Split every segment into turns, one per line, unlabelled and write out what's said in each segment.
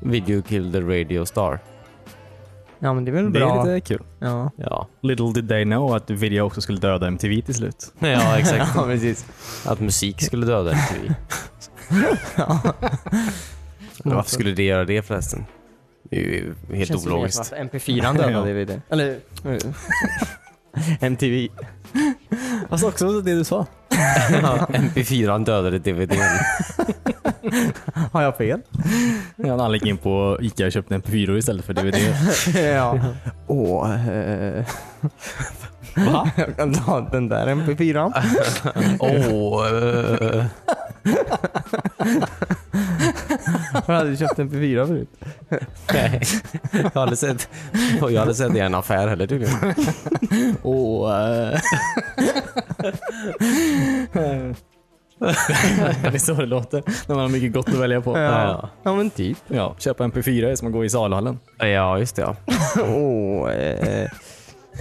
Video Killed the Radio Star.
Ja, men det är väl
Det
bra.
är lite kul.
Ja.
Ja,
Little did they know att video också skulle döda MTV till slut.
ja exakt.
ja, precis.
Att musik skulle döda MTV.
Ja.
Eller Varför skulle det göra det förresten? Det är ju helt ologiskt.
MP4 dödade
Ja.
vi det. Eller... MTV.
Fast också det du sa.
MP4 dödade DVDn.
Har jag fel?
Ja, han gick in på Ica och köpte en pyro istället för DVD.
ja. Åh... eh.
Va?
Jag kan ta den där MP4.
Åh, eh,
Jag har aldrig köpt MP4 förut.
nej. Jag hade sett, jag hade sett det i en affär heller tydligen.
Och, eh, det är så det låter när man har mycket gott att välja på.
Ja.
Ja, men typ.
Ja, köpa MP4 är som att gå i salhallen.
Ja, just det ja.
Åh... eh.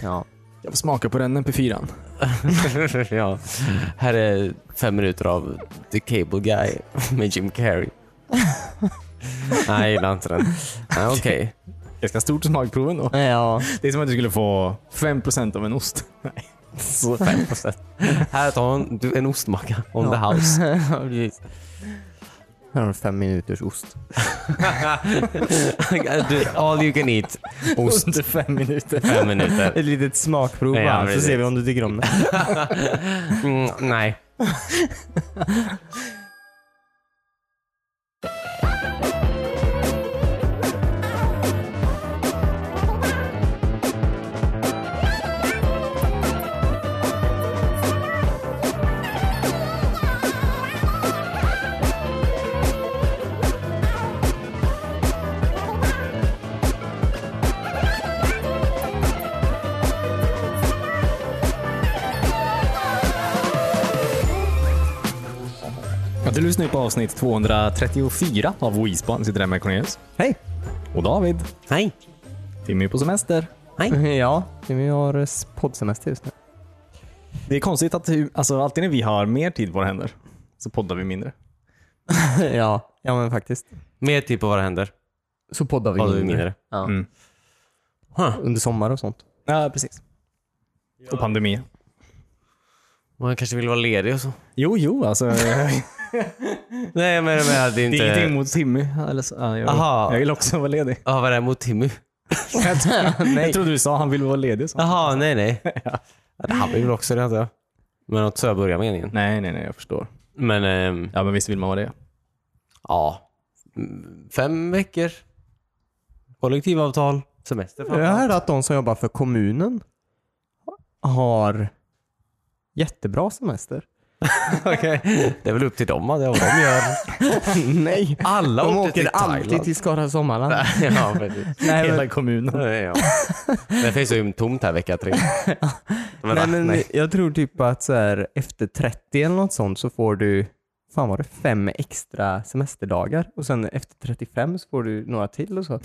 Ja.
Jag får smaka på den MP4. an.
ja. Här är fem minuter av The Cable Guy med Jim Carrey. Nej, jag gillar inte den. Nej, okej.
Ganska stort smakprov ändå.
Ja.
Det är som att du skulle få 5% av en ost. Nej.
Så 5%. Här tar en, du, en ostmacka on the
Ja.
house.
Ja, precis. Här har du fem minuters ost.
Du, All you can eat. Ost.
Under fem minuter.
Fem minuter.
Ett litet smakprov
Ja,
bara, så
precis.
ser vi om du tycker om det.
Mm, nej.
Ja, Du lyssnar ju på avsnitt 234 av Wispan. Sitter där med Cornelius.
Hej!
Och David.
Nej.
Timmy är på semester.
Ja, vi har eh, poddsemester just nu.
Det är konstigt att hur- alltså, alltid när vi har mer tid på våra händer så poddar vi mindre.
ja, ja men faktiskt.
Mer tid på vad det händer.
Så poddar vi
Vad du mindre.
Ja.
Mm.
Huh.
Under sommar och sånt.
Ja, precis. Och pandemi.
Man kanske vill vara ledig och så.
Jo, jo, alltså.
Nej, men, men det är
Det är ingenting
inte...
mot Timmy. Eller så, ja, jag,
Aha.
jag vill också vara ledig.
Ja, vad är det mot Timmy?
Jag trodde du sa han ville vara ledig. Så.
Jaha, nej nej. Ja, Det hade vi väl också det antar jag. Men att så börja meningen.
Nej, nej, nej, jag förstår.
Men ehm,
Ja, men visst vill man vara det.
ja, Mm, fem veckor. Kollektivavtal. Semester.
Jag hörde att de som jobbar för kommunen har jättebra semester.
Okej. Det är väl upp till dem vad det är vad de gör.
Nej!
Alla
De
åkte
åker
till
alltid
Thailand.
till Skara Sommarland.
ja, precis.
Nej, men,
Hela kommunen.
Nej, ja. Det finns ju tomt här vecka tre. Men,
nej, men
nej.
jag tror typ att så här, efter 30 eller något sånt så får du, fan var det fem extra semesterdagar? Och sen efter 35 så får du några till och så.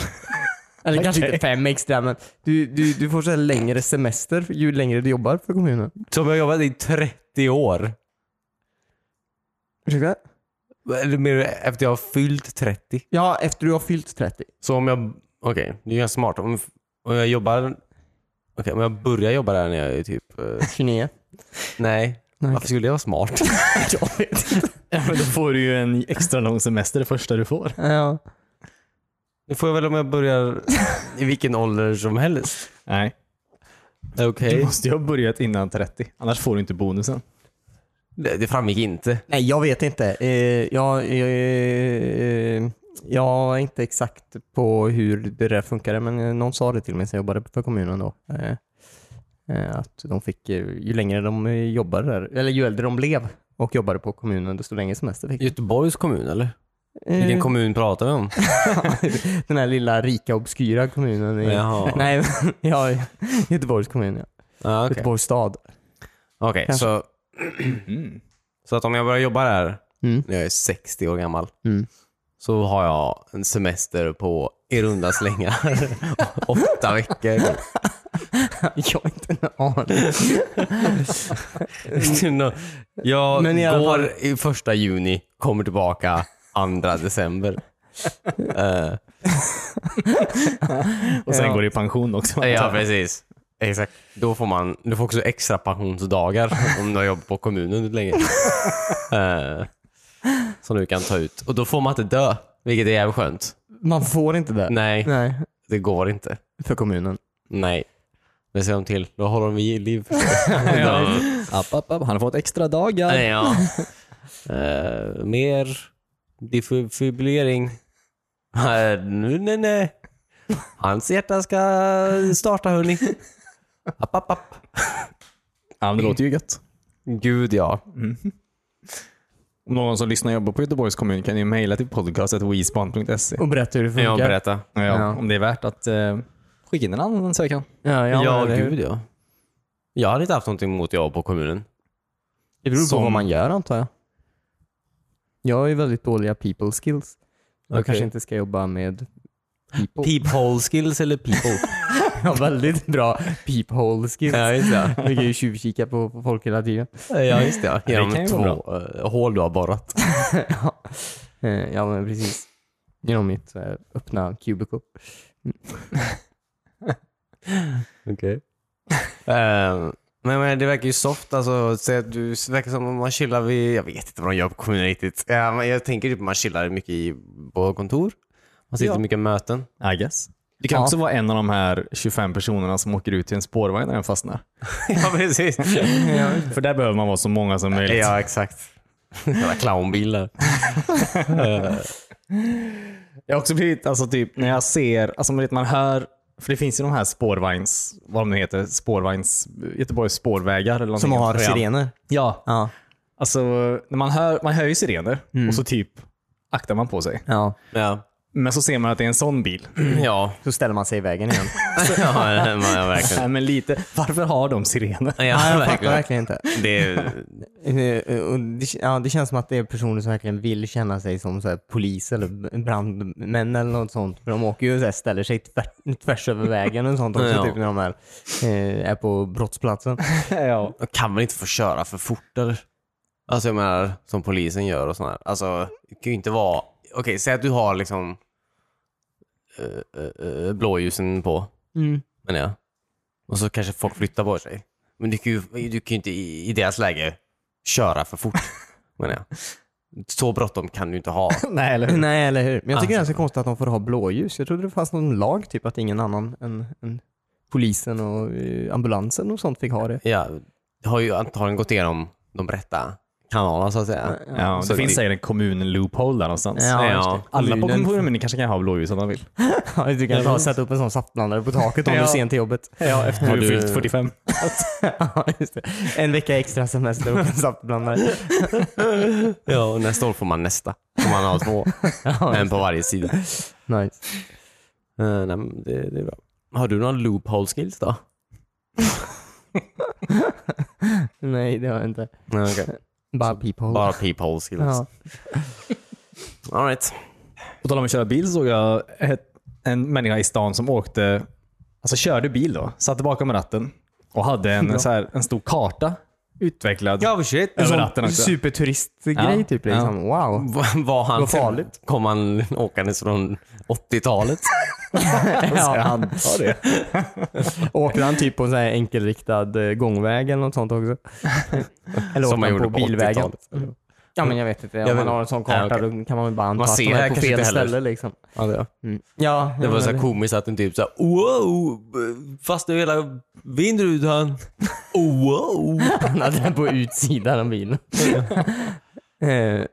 Eller kanske
Okej.
inte fem extra men du, du, du får så här längre semester ju längre du jobbar för kommunen.
Som jag jobbat i 30 år.
Ursäkta?
Eller mer efter jag har fyllt 30.
Ja, efter du har fyllt 30.
Så om jag... Okej, det är ganska smart. Om, om jag jobbar... Okej, om jag börjar jobba där när jag är typ... eh,
29.
nej.
Nej,
Varför skulle det vara smart?
jag vet
Ja, men då får du ju en extra lång semester det första du får.
Ja.
Det får jag väl om jag börjar i vilken ålder som helst.
Nej,
Okej.
du måste ju ha börjat innan 30. Annars får du inte bonusen.
Det, det framgick inte.
Nej, jag vet inte. Eh, jag, eh, eh, jag är inte exakt på hur det där funkade, men eh, någon sa det till mig som jobbade för kommunen då. Eh, eh, att de fick, eh, ju längre de eh, jobbade där, eller ju äldre de blev och jobbade på kommunen, desto längre semester fick de.
Göteborgs kommun eller? Vilken
Eh,
kommun pratar vi om?
Den här lilla rika obskyra kommunen. I,
Jaha.
nej, men- ja, Göteborgs kommun ja.
Ah, Okej,
Göteborgs stad.
Okej,
Kanske.
så,
Mm.
så att om jag börjar jobba där
Mm.
när jag är 60 år gammal
Mm.
så har jag en semester på i runda slängar åtta veckor.
jag har inte en aning.
Nå, jag
Men i alla
går
fall-
i första juni, kommer tillbaka andra december. Eh,
Och sen
Ja.
går det i pension också.
Ja, precis. Exakt. Då får man du får också extra pensionsdagar om du har jobbat på kommunen länge. Eh, som du kan ta ut. Och då får man inte dö, vilket är jävligt skönt.
Man får inte det.
Nej,
Nej.
det går inte.
För kommunen.
Nej. Det ser de till. Då håller de i liv.
Ja. App, app, app. Han har fått extra dagar.
Nej, ja. Eh, mer defibrillering. Nej, Eh, nu, nej, nej. Hans hjärta ska starta, hörni. App, app, app.
Ja, men det låter ju gött.
Gud, ja.
Om någon som lyssnar och jobbar på Göteborgs kommun kan ju mejla till podcastetwespan.se.
Och berätta hur det
Jag
funkar.
berätta.
Ja,
Ja.
Om det är värt att eh, skicka in en ansökan.
Ja, ja,
Ja,
men det-
gud ja. Jag hade inte haft någonting emot jag på kommunen.
Det beror på
Som-
vad man gör antar jag. Jag har ju väldigt dåliga people skills. Jag
Okej.
kanske inte ska jobba med people.
Peephole skills eller people?
Jag har väldigt bra peephole skills.
ja, just det.
Jag kan ju tjuvkika på, på folk hela tiden.
Ja, just det.
Det
Genom
kan ju vara
två eh, hål du har borrat.
Eh, Ja men precis. Genom mitt eh, öppna cubicle.
Okej. men, Ehm, men det verkar ju soft alltså. Så att du det verkar som om man chillar vid, jag vet inte vad de gör på kommunen riktigt. Ja, men jag tänker typ man chillar mycket i, på kontor. Man sitter
Ja.
mycket i möten.
I guess. Du kan
Ja.
också vara en av de här 25 personerna som åker ut till en spårvagn när den fastnar.
ja, precis.
För där behöver man vara så många som möjligt.
ja, exakt. Jävla clownbilar.
Jag har också blivit, alltså typ när jag ser, alltså man vet man hör, för det finns ju de här spårvagns, vad de nu heter, spårvagns, Göteborgs spårvägar eller någonting.
Som har
Ja.
sirener.
Ja,
Ja.
alltså när man hör, man hör ju sirener och så typ aktar man på sig.
ja.
Ja.
Men så ser man att det är en sån bil.
Ja,
Så ställer man sig i vägen igen.
ja, ja verkligen.
Nej men lite, varför har de sirener?
Ja,
Nej, jag fattar
verkligen.
verkligen inte.
Det är,
Eh, och Det, ja, det känns som att det är personer som verkligen vill känna sig som så här, polis eller brandmän eller något sånt. För de åker ju och så här, ställer sig tvärs, tvärs över vägen och sånt också
Ja.
typ när de är, eh, är på brottsplatsen.
ja.
Jag kan väl inte få köra för fort eller? Alltså jag menar, som polisen gör och sådär. Alltså, det kan ju inte vara... Okej, säg att du har liksom eh, eh, eh, blåljusen på, menar jag. Och så kanske folk flyttar på sig. Men du kan ju, du kan ju inte i, i deras läge köra för fort, menar jag. Så bråttom kan du inte ha.
Nej eller hur?
Nej, eller hur? Ah. Men jag tycker det är så konstigt att de får ha blåljus. Jag trodde det fanns någon lag typ att ingen annan än, än polisen och eh, ambulansen och sånt fick ha det.
Ja, det har ju antagligen gått igenom de rätta kanalerna så att säga.
Ja,
Så
det finns
det-
säkert en kommun-loophole där någonstans.
Ja,
ja.
Alla på
Kommunen-
kommunen kanske kan ha blåljus om de vill.
Ja, du kan ta och sätta upp en sån saftblandare på taket om du
Ja.
är sen till jobbet.
Ja, efter
Har
du
du-
fyllt 45.
Ja, just det. En vecka extra semester och en saftblandare.
Ja, och nästa år får man nästa. Om man har två. en på varje sida.
Nice.
Eh, nej, men det, det är bra. Har du någon loophole skills då?
Nej, det har jag inte.
Nej, okej.
Bara people.
Bara peephole skills.
Ja.
All right.
På tal om att köra bil såg jag ett, en människa i stan som åkte, alltså körde bil då, satte bakom ratten och hade en, så här, en stor karta utvecklad.
Ja, shit.
Över
Sån
natten också.
Superturistgrej
Ja.
typ. Liksom. Wow.
Var han...
Vad farligt.
Kom han åkandes från 80-talet?
Alltså, Ja.
antar det.
Åker han typ på en sån här enkelriktad eh, gångväg eller något sånt också? Eller
Som man
åker han
gjorde
på
på
bilvägen?
80-talet.
Ja men jag vet inte. Om
Jag
man
vet-
har en sån
Nej,
karta då kan man väl bara anta
Man
att de
ser
är på
kanske
fel
inte heller.
ställe liksom.
Ja, det,
Mm. Ja,
det var
ja,
så här
men-
komiskt att den typ såhär wow, fast nu hela vindrutan. Wow.
Han hade den på utsidan av bilen. Eh,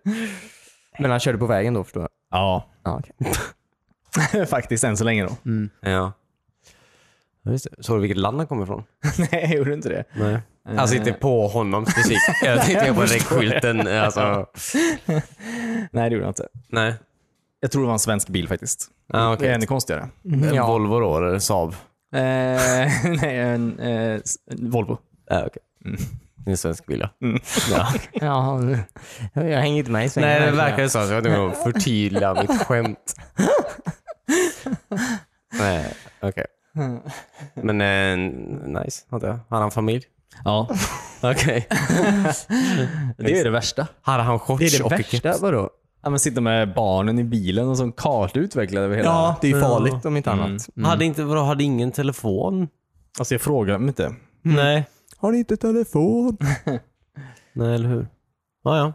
men han körde på vägen då förstår jag.
Ja,
Ja, okej.
faktiskt än så länge då.
Ja. Ja, just det. Såg du vilket land han kommer ifrån?
Nej, jag gjorde inte det.
Nej. Alltså inte på honom specifikt. Jag tänkte på skylten. Alltså.
Nej, det gjorde jag inte.
Nej.
Jag tror det var en svensk bil faktiskt.
Ah,
Det är
okej.
ännu konstigare.
En
Ja.
Volvo då, eller Saab?
nej, en, eh, s- en Volvo.
Ja, okej. Mm. Det är en svensk bil, ja.
Ja, jag hänger inte med i svängen.
Nej, det
här,
verkar ju så. så Jag var tvungen att förtydliga mitt skämt. Nej, okej. Men eh, nice, antar jag. Hade han familj?
Ja,
Okej.
det är det värsta.
Hade han shorts
Det är det
och keps?
värsta, vadå?
Ja, men sitta med barnen i bilen och sån karta utvecklad över hela...
Ja, det är ju
Ja. Mm.
farligt om inte annat.
Hade, inte, vadå, hade ingen telefon?
Alltså jag frågar dem inte.
Nej.
Har ni inte telefon?
Nej, eller hur? Ja, ja.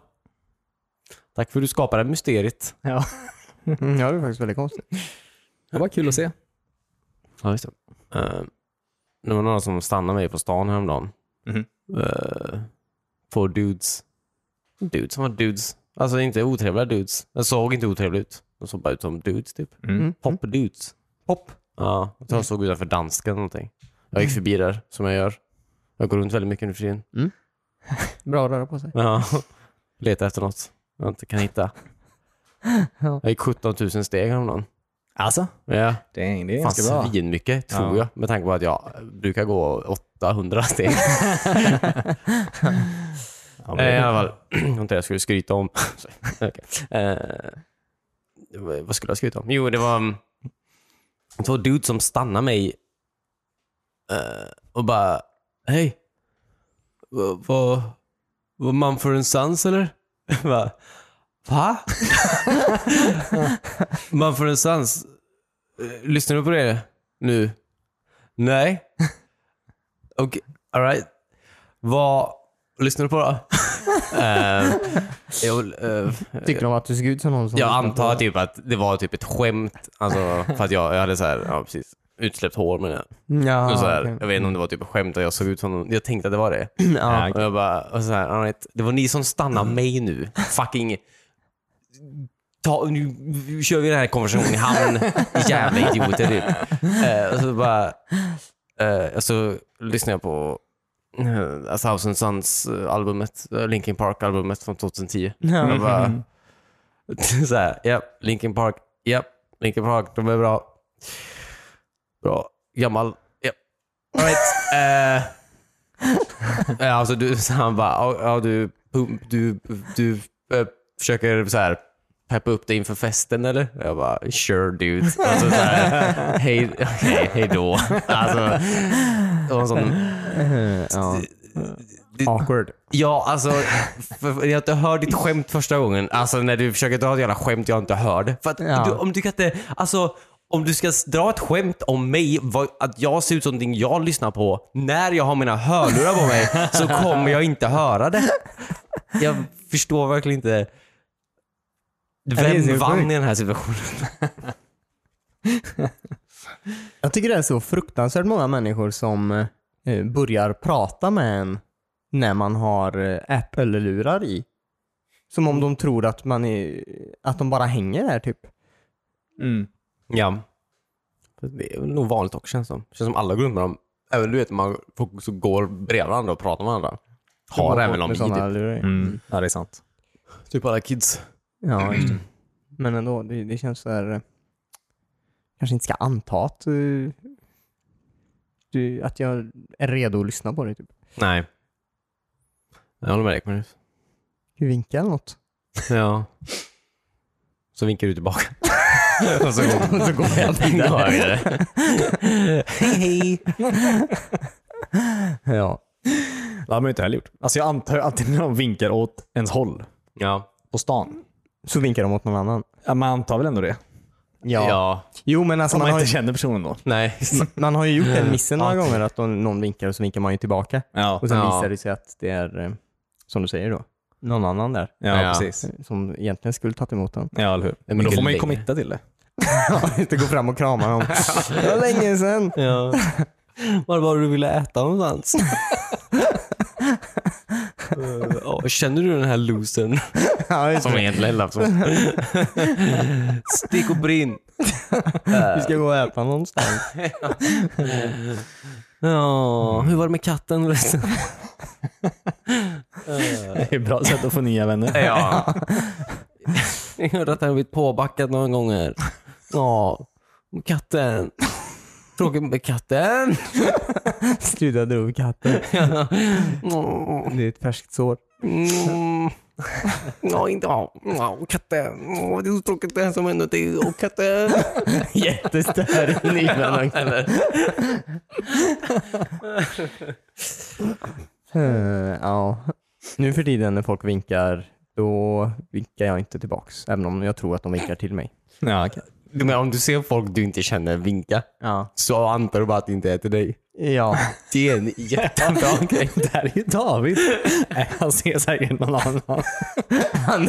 Tack för att du skapade mysteriet.
Ja.
Mm, ja, det är faktiskt väldigt konstigt.
Det var kul att se.
Ja, visst. Eh, det var några som stannade mig på stan häromdagen.
Mhm.
Eh, två dudes. Dudes som var dudes. Alltså inte otrevliga dudes. De såg inte otrevliga ut. De såg bara ut som dudes typ.
Mm.
Pop-dudes.
Mhm. Pop.
Ja, jag tror jag såg utanför dansken eller någonting. Jag gick förbi där, som jag gör. Jag går runt väldigt mycket nu för tiden.
Bra att röra på sig.
Ja, letar efter något jag inte kan hitta.
Ja.
Jag gick 17 000 steg häromdagen.
Alltså?
Ja,
Det är, det är
fan
ganska bra.
svinmycket tror
Ja.
jag. Med tanke på att jag brukar gå 800 steg.
Ja,
Eh, I
men-
alla fall, det var inte det jag skulle skryta om. Sorry. Okej. eh, vad- vad skulle jag skryta om? Jo, det var mm, två dudes som stannade mig eh, och bara Hej, vad va, va Mumford Sons eller? Jag bara, Va? Mumford Sons? Eh, Lyssnar du på det nu? Nej. Okej, alright. Vad lyssnar du på då? Eh, jag, eh,
Tyckte de att du såg ut som någon som...
jag antar typ att det var typ ett skämt, alltså, för att jag, jag hade så här, ja, precis, utsläppt hår med det.
Ja,
Och så här,
okej.
Jag vet inte om det var typ ett skämt att jag såg ut som någon, jag tänkte att det var det.
Ja.
Och jag bara, och så här, all right, det var ni som stannade mig nu. Fucking... Ta, nu, nu kör vi den här konversationen i hamn. Ni Jävla idioter typ. Eh, och så bara... eh, och så lyssnade jag på eh, A Thousand Sons-albumet, eh, Linkin Park-albumet från 2010.
Ja.
Jag bara... så här, ja, Linkin Park, ja, Linkin Park, de är bra. Bra. Gammal, ja. All right. eh, Ja, alltså du, så han bara, ja, ja, du, pump- du, du eh, försöker så här peppa upp dig inför festen eller? Jag bara, sure dude. Alltså, så här, hej, okej, hej då. Alltså, det var en sån,
Ja. Awkward.
ja alltså, för, för, jag inte hör ditt skämt första gången. Alltså när du försöker dra ett jävla skämt jag inte hörde. För att
Ja.
du, om du kan inte, alltså om du ska s- dra ett skämt om mig, vad, att jag ser ut som någonting jag lyssnar på, när jag har mina hörlurar på mig, så kommer jag inte höra det. Jag förstår verkligen inte.
det är så
Vem vann
sjukt.
i den här situationen?
Jag tycker det är så fruktansvärt många människor som eh, börjar prata med en när man har eh, Apple-lurar i. Som om de tror att, man är, att de bara hänger där typ.
Mm.
Ja. Det är väl nog vanligt också känns det som. Känns som alla går runt med dem. Även du vet, man folk som går bredvid varandra och pratar med varandra. Har
De
även dem i
bort med
typ.
sådana lurar i.
Mm. Ja, det är sant.
Typ alla kids.
Ja, just det. Men ändå, det, det känns så här... eh, Kanske inte ska anta att, eh, du, att jag är redo att lyssna på dig. Typ.
Nej. Jag håller med dig Magnus.
Du vinkar eller något.
Ja. Så vinkar du tillbaka. och så går
Och så går jag vidare.
jag vidare.
Hej! ja.
Det har man ju inte heller gjort. Alltså jag antar ju alltid när de vinkar åt ens håll
Ja.
på stan.
Så vinkar de åt någon annan.
Ja, man antar väl ändå det?
ja.
Jo men alltså
Om
man
man
har,
inte
ju,
känner personen då.
Nej.
man har ju gjort den missen några
Ja.
gånger att någon någon vinkar och så vinkar man ju tillbaka.
Ja,
Och sen
Ja.
visar det sig att det är, eh, som du säger då, någon annan där
ja,
Ja.
precis.
eh, som egentligen skulle tagit emot den.
Ja, eller hur? Men då
mycket
får man ju
längre.
committa till det.
Inte gå fram och krama dem. Det var länge sedan.
Ja. Var var du ville äta någonstans? Eh, ja, känner du den här losern?
Ja, just
Som
det.
egentligen lät som... Stick och brinn.
Vi ska gå och äta någonstans.
Ja, hur var det med katten förresten?
Det är ett bra sätt att få nya vänner.
Ja. Jag hörde att han blivit påbackad några gånger. Ja, och katten. Tråkigt med katten.
Sluta dra upp katten.
Mm.
Det är ett färskt sår.
Ja, inte ja. Ja, och katten. Åh, Det är så tråkigt det här som händer dig och katten.
Jättestörig nyvändning. Eh, Ja. Nu för tiden när folk vinkar, då då vinkar jag inte tillbaks. Även om jag tror att de vinkar till mig.
Ja, okej.
Du menar om du ser folk du inte känner vinka
Ja.
så antar du bara att det inte är till dig.
Ja.
Det är en jättebra grej.
Där är ju David. Nej, Han ser säkert någon annan.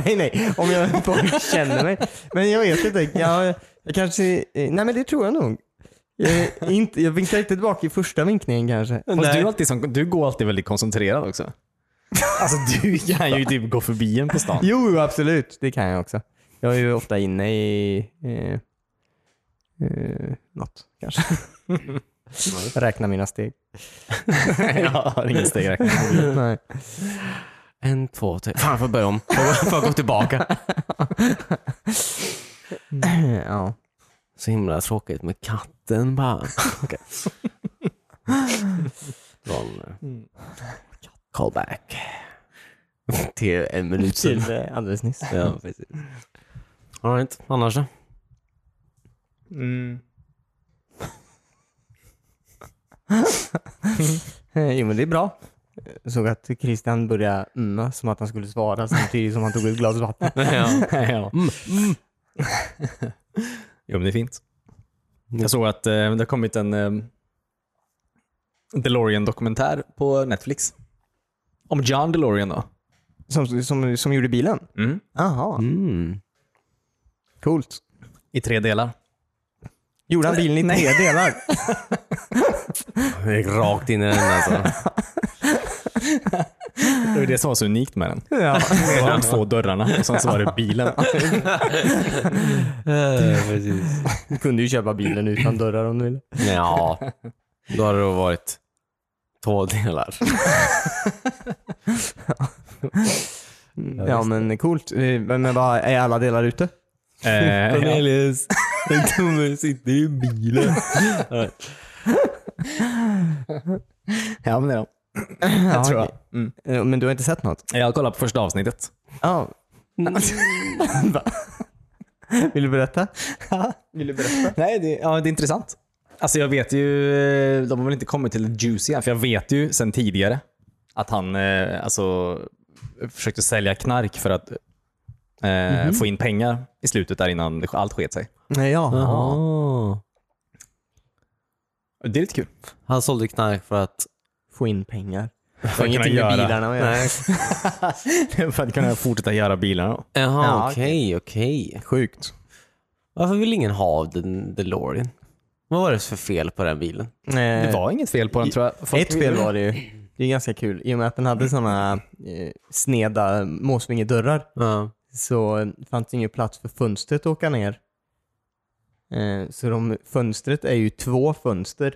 nej, nej. Om jag folk känner mig. Men jag vet inte. Jag, jag kanske... eh, Nej, men det tror jag nog. Jag, inte, jag vinkar inte tillbaka i första vinkningen kanske.
Fast du, är alltid som, du går alltid väldigt koncentrerad också. Alltså du kan ju typ gå förbi en på stan.
Jo, jo, absolut. Det kan jag också. Jag är ju ofta inne i eh, eh, något kanske. Räkna mina steg.
Jag har ingen stegräkning.
Nej.
En, två, tre. Fan, jag får börja om. Får jag- Får jag gå tillbaka?
ja.
Så himla tråkigt med katten bara. Okej. Från eh, callback. Till en minut sedan.
Till eh, alldeles nyss.
Ja, precis. All right, annars då?
Mm.
Eh, Jo men det är bra. Jag såg att Christian började mm, som att han skulle svara samtidigt som han tog ett glas vatten.
Ja.
ja. Jo, men det är fint. Jag såg att eh, det har kommit en eh, DeLorean-dokumentär på Netflix. Om John DeLorean då.
Som, som, som gjorde bilen?
Mm.
Jaha,
Mm.
coolt.
I tre delar.
Gjorde han bilen i
Nej.
tre delar?
Jag gick rakt in i den alltså.
Det var ju det som var så unikt med den.
ja.
Det var de två dörrarna och sen så var det bilen.
precis.
Du kunde ju köpa bilen utan dörrar om du ville.
Ja, då hade det varit två delar.
Ja men coolt. Eh, Men men vad, är alla delar ute?
Eh, ja.
Cornelius, den tummen sitter i bilen.
ja, men det är de.
Ja,
Tror jag.
okej.
Mm.
Eh, Men du har inte sett något?
Jag har kollat på första avsnittet.
Ja. Va? Vill du berätta? Vill du berätta?
Nej, det, ja, det är intressant. Alltså jag vet ju, eh, de har väl inte kommit till det juicy än, för jag vet ju sen tidigare att han eh, alltså, försökte sälja knark för att eh, få in pengar i slutet där innan det- allt sket sig.
Nej, ja.
Det är lite kul.
Han sålde knark för att...
Få in pengar.
För
Har
att, kunna
ingenting med
göra,
bilarna att göra.
för att kunna fortsätta göra bilarna. då.
Jaha,
Ja,
okej, okej.
Sjukt.
Varför vill ingen ha den DeLorean? Vad var det för fel på den bilen?
Det var inget fel på den tror jag. Folk-
Eh, Ett fel var det ju. Det är ganska kul. I och med att den hade sådana eh, sneda måsvingedörrar
Ja.
så eh, fanns det ingen plats för fönstret att åka ner. Eh, så de, fönstret är ju två fönster.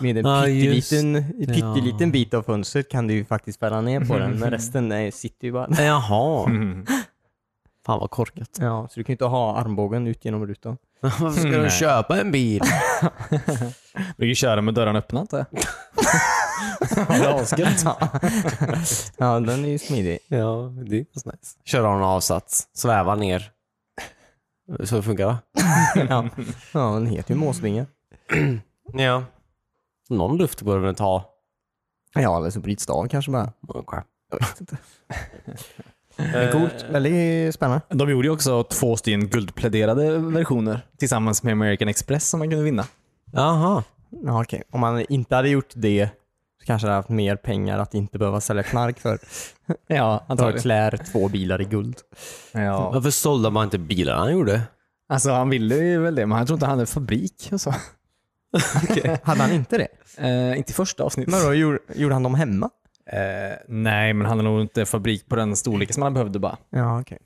Med en
Ja, just
pytteliten, pytteliten
Ja.
bit av fönstret kan du ju faktiskt fälla ner på den, men resten är, sitter ju bara där.
Jaha,
Mm.
fan vad korkat.
Ja, så du kan ju inte ha armbågen ut genom rutan.
Varför ska de
Nej.
köpa en bil?
Du kan ju köra med dörren öppna antar jag. Det är asgött.
ja, den är ju smidig.
Ja, det är så nice. Köra av en avsats, sväva ner. Så det funkar va?
Ja, ja den heter ju måsvinge.
Ja. Någon luft borde den ta.
Ja, eller så bryts det av kanske bara.
Okay.
Jag vet inte. Men coolt. Väldigt spännande.
De gjorde ju också två stycken guldpläderade versioner tillsammans med American Express som man kunde vinna.
Jaha.
Ja, okej. Om man inte hade gjort det så kanske han hade haft mer pengar att inte behöva sälja knark för.
Ja,
För klär två bilar i guld.
Ja.
Varför sålde man inte bilarna han gjorde?
Alltså han ville ju väl det, men han trodde inte han hade fabrik och så.
Hade han inte det?
Eh, inte i första avsnittet.
Men då gjorde, gjorde han dem hemma?
Eh, nej, men han hade nog inte fabrik på den storleken som han behövde bara.
Ja, okej.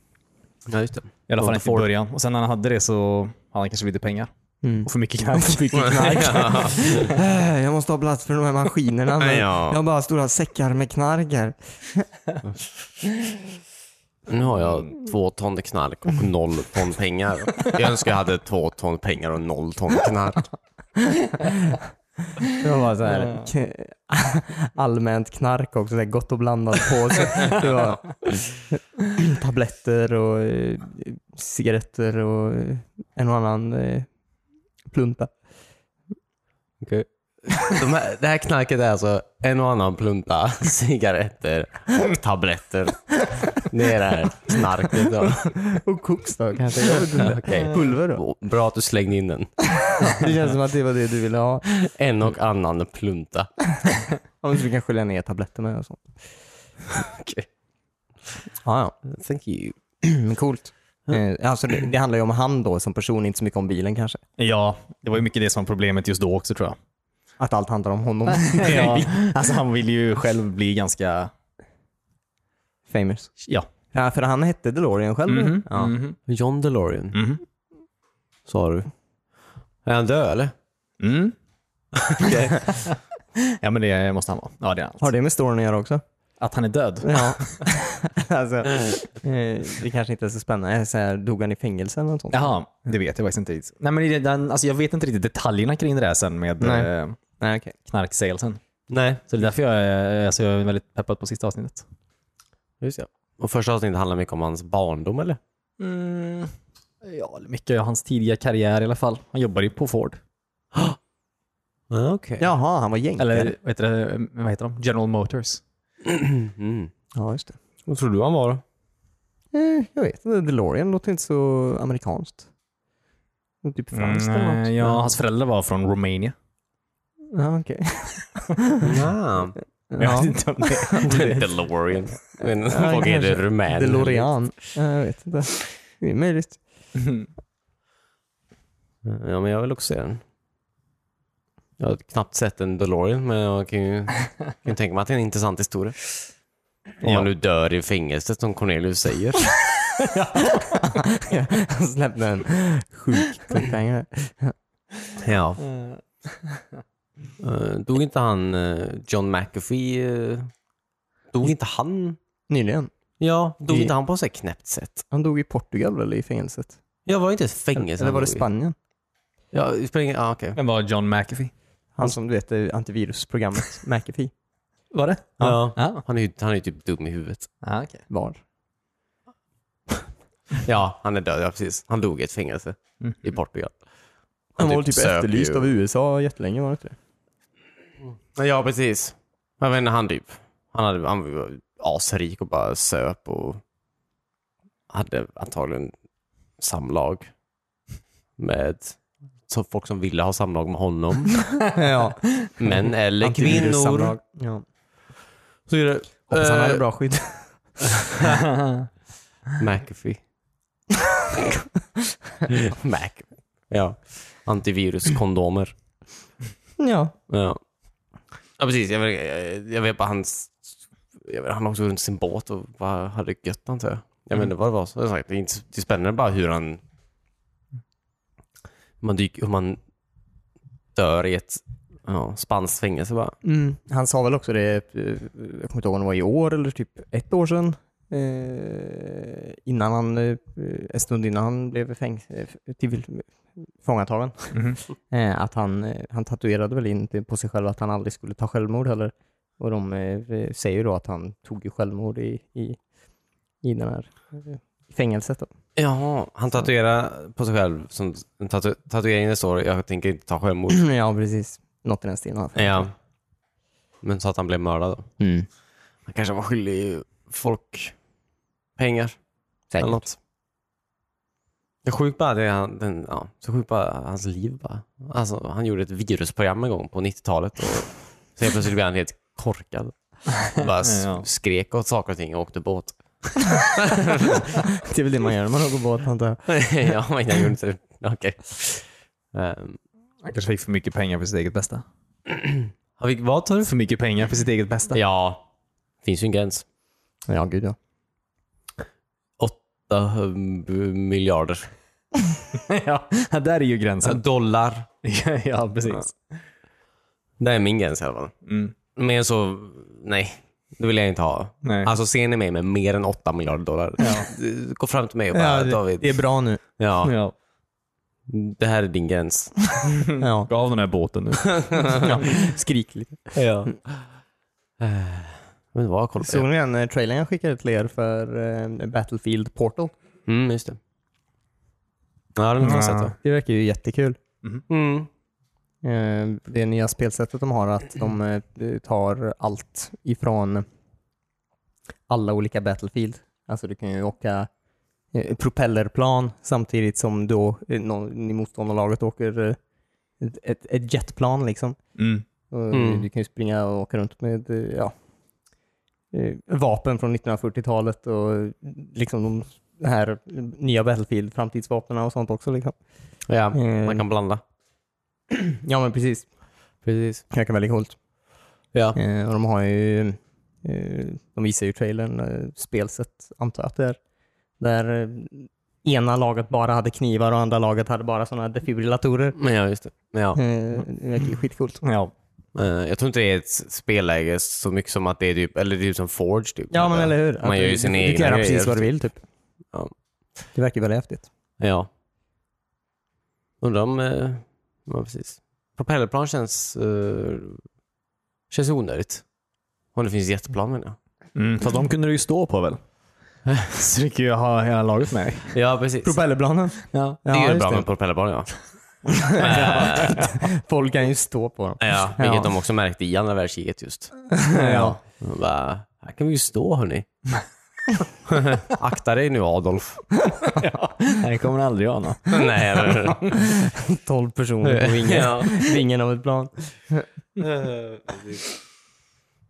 Ja, just det.
I alla fall
Ford.
inte i början. Och sen när han hade det så hade han kanske lite pengar.
Mm.
Och för mycket knark.
ja.
Eh, Jag måste ha plats för de här maskinerna. Men
Ja.
Jag har bara stora säckar med knark här.
Nu har jag två ton knark och noll ton pengar. Jag önskar jag hade två ton pengar och noll ton knark.
Det var bara så här, k- allmänt knark också. Så här gott och blandat på sig. Det var tabletter och eh, cigaretter och eh, en och annan eh, plunta.
Okay. de här, det här knarket är alltså en och annan plunta cigaretter och tabletter. Det är det här knarket. Då.
Och koks då kanske? Jag vet inte.
Okej.
Pulver då?
Bra att du slängde in den.
Det känns som att det var det du ville ha.
En och annan plunta.
Om du kan skölja ner tabletterna och sånt.
Okej.
Ja, ja.
Thank you.
Men Coolt. Eh, Alltså det, det handlar ju om han då som person, inte så mycket om bilen kanske.
Ja, det var ju mycket det som var problemet just då också tror jag.
Att allt handlar om honom.
Ja, alltså han vill ju själv bli ganska...
Famous.
Ja.
Ja, för han hette DeLorean själv.
Mhm,
Ja.
mhm,
John DeLorean,
mhm.
sa du. Är han död eller?
Mm. ja, men det måste han vara. Ja, det är
Har
allt.
det med storyn att göra också?
Att han är död?
Ja. alltså, eh, det kanske inte är så spännande. Jag säger, dog han i fängelse eller något sånt?
Jaha, det vet jag faktiskt inte riktigt. Nej, men det är den, alltså, jag vet inte riktigt detaljerna kring det där sen med
Nej.
eh,
Nej, okej.
knarksalesen.
Nej.
Så det är därför jag är, alltså, jag är väldigt peppad på sista avsnittet.
Just ja. Och första avsnittet handlar mycket om hans barndom eller?
Mm. Ja, mycket av hans tidiga karriär i alla fall. Han jobbade ju på Ford.
Ja, okej.
Jaha, han var jänkare.
Eller vad heter, det, vad heter de? General Motors.
Mm.
Ja, just det.
Vad tror du han var då?
Eh, jag vet inte. DeLorean låter inte så amerikanskt. Det är Typ franskt eller något.
Mm, ja, hans föräldrar var från Romania.
Ja, okej.
Ja.
Jag
Ja.
vet inte om det-
DeLorean. Men
Ja,
Vad är det?
kanske.
Rumän?
DeLorean. Ja, jag vet inte. Det är möjligt.
Ja, men jag vill också se den. Jag har knappt sett en DeLorean, men jag kan ju, kan ju tänka mig att det är en intressant historia. Om
Ja.
han nu dör i fängelset, som Cornelius säger.
Han släppte en sjuk cliffhanger.
ja.
Mm.
Eh, Dog inte han eh, John McAfee? eh, Dog inte han?
Nyligen.
Ja, dog
I-
inte han på ett knäppt sätt?
Han dog i Portugal eller i fängelset?
Jag var det inte ett fängelse
Eller var
han
det
dog i?
Spanien?
Ja, det spelar ingen... Ah, okej.
Vem var John McAfee?
Han som du vet är antivirusprogrammet McAfee.
Var det?
Ja.
Ja.
Han är ju han är ju typ dum i huvudet.
Ah, okay.
Var.
Ja, han är död. Ja, precis. Han dog i ett fängelse
Mm.
i Portugal.
Han var väl typ
söker
efterlyst
ju-
av USA jättelänge var det inte det?
Ja, precis. Jag vet inte, han typ. Han, hade, han var asrik och bara söp och hade antagligen samlag med så folk som ville ha samlag med honom.
ja.
Män eller kvinnor.
Antivirussamlag. Ja.
Så är det.
Hoppas han hade
Eh,
bra skydd.
McAfee. Mac. Ja. Antiviruskondomer.
ja.
Ja. ja, precis. Jag vet, jag, jag vet bara hans... Jag vet, han åkte runt sin båt och bara hade gött antar jag. Jag vet inte vad det var. Som jag sagt, det, är inte, det är spännande bara hur han... Hur man, dyker, hur man dör i ett ja, spanskt fängelse bara.
Mm. Han sa väl också det, eh, jag kommer inte ihåg om det var i år eller typ ett år sedan. Eh, innan han, eh, en stund innan han blev fäng, eh, till, fångatagen.
Mhm.
Eh, att han, eh, han tatuerade väl in på sig själv att han aldrig skulle ta självmord heller. Och de eh, säger ju då att han tog ju självmord i, i, i den här eh, fängelset. Då.
Jaha, han tatuerar på sig själv. Som, en tatu, tatueringen det står jag tänker inte ta självmord.
ja, precis. Något i den stilen.
Ja. Men så att han blev mördad då.
Mm.
Han kanske var skyldig folk pengar.
Säkert.
Eller något. Det är sjukt bara det han, den, ja, så sjukt bara hans liv bara. Alltså, han gjorde ett virusprogram en gång på 90-talet och så helt plötsligt blev han helt korkad. Bara s-
Ja.
skrek åt saker och ting och åkte båt.
Det är väl det man gör när man åker båt antar jag.
ja, men jag gjorde inte det. Okej. Ehm,
Han kanske fick för mycket pengar för sitt eget bästa.
har vi vad tar du?
För mycket pengar för sitt eget bästa.
Ja, finns ju en gräns.
Ja, gud ja.
8 miljarder.
ja, där är ju gränsen.
Dollar.
ja, precis.
Det är min gräns i alla fall.
Mm.
Mer än så, nej. Det vill jag inte ha.
Nej.
Alltså ser ni mig med mer än 8 miljarder dollar, gå fram till mig och bara David,
det är bra nu.
ja,
Ja.
det här är din gräns.
Ja.
Gå av den här båten nu.
Skrik lite.
ja. Men vad kollade
Såg
jag?
ni den eh, trailern jag skickade till er för eh, Battlefield Portal?
Mm, just det. Ja, den har jag sett.
Ja.
Då.
Det verkar ju jättekul.
Mm.
eh, det nya spelsättet de har, att de eh, tar allt ifrån alla olika Battlefield. Alltså du kan ju åka eh, propellerplan samtidigt som då eh, någon i motståndarlaget åker eh, ett- ett, ett jetplan liksom.
Mm.
Och
Mm.
Du kan ju springa och åka runt med eh, ja, eh, vapen från 1940-talet och liksom de här nya Battlefield, framtidsvapnen och sånt också. Liksom.
Ja,
Mm.
man kan blanda.
Ja men precis,
Precis.
verkar väldigt coolt.
Ja.
Eh, och de har ju, eh, de visar ju trailern, eh, spelset antar jag att det är, där eh, ena laget bara hade knivar och andra laget hade bara sådana defibrillatorer.
Men ja, just det. Men ja.
Eh, det verkar ju skitcoolt.
Ja.
Eh, Jag tror inte det är ett spelläge så mycket som att det är typ, eller det är typ som Forge typ.
Ja men eller hur?
Man
Att
gör ju
du-
sina
du, du
egna
kan göra
grejer.
precis vad du vill typ.
Ja.
Det verkar ju väldigt häftigt.
Ja. Undrar om... eh, Ja, precis. Propellerplan känns... eh, Känns onödigt. Om det finns jetplan menar jag.
Mm. Fast de kunde du ju stå på väl? Så du kan ju ha hela laget med dig.
Ja, precis.
Propellerplanen.
Ja.
det är ju
just
bra
det.
med propellerplan ja.
Folk kan ju stå på dem.
Ja, vilket
Ja.
de också märkte i andra världskriget just.
ja.
De Bara, här kan vi ju stå hörni. Akta dig nu Adolf.
Det kommer aldrig jag nå.
Nej, eller hur?
12 personer på vingen,
Ja.
vingen av ett plan.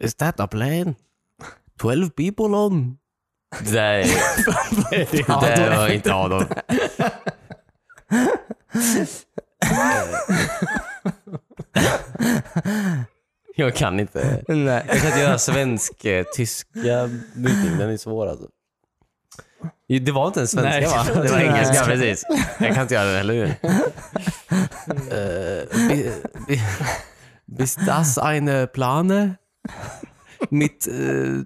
Is that a plane? 12 people on? Det där är- det där var inte Adolf. Jag kan inte.
Nej.
Jag kan inte göra svensk, eh, tyska mytning. Den är svår alltså. Det var inte en svenska
Nej,
va?
det var
Det var
inte
engelska,
engelska.
precis. Jag kan inte göra den heller. Eh, bi- bi- Bis das eine Plane? Mit eh, t-